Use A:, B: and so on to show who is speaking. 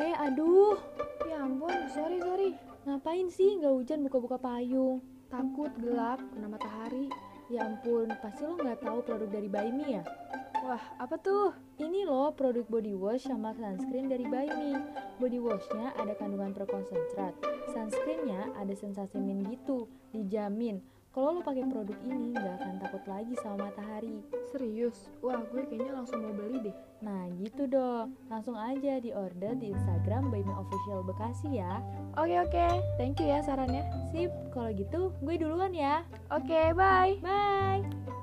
A: Eh, Ya sih nggak hujan buka-buka payung? Takut gelap kena matahari. Ya ampun, pasti lo nggak tahu produk dari By Me ya? Wah, apa tuh? Ini loh produk body wash sama sunscreen dari By Me. Body washnya ada kandungan prokonsentrat, sunscreennya ada sensasi mint gitu, dijamin. Kalau lo pakai produk ini nggak akan takut lagi sama matahari.
B: Serius? Wah, gue kayaknya langsung mau beli deh.
A: Nah gitu dong, langsung aja di order di Instagram By Me Official Bekasi ya.
B: Oke, oke. Thank you ya sarannya.
A: Sip, kalau gitu gue duluan ya.
B: Oke, bye.
A: Bye!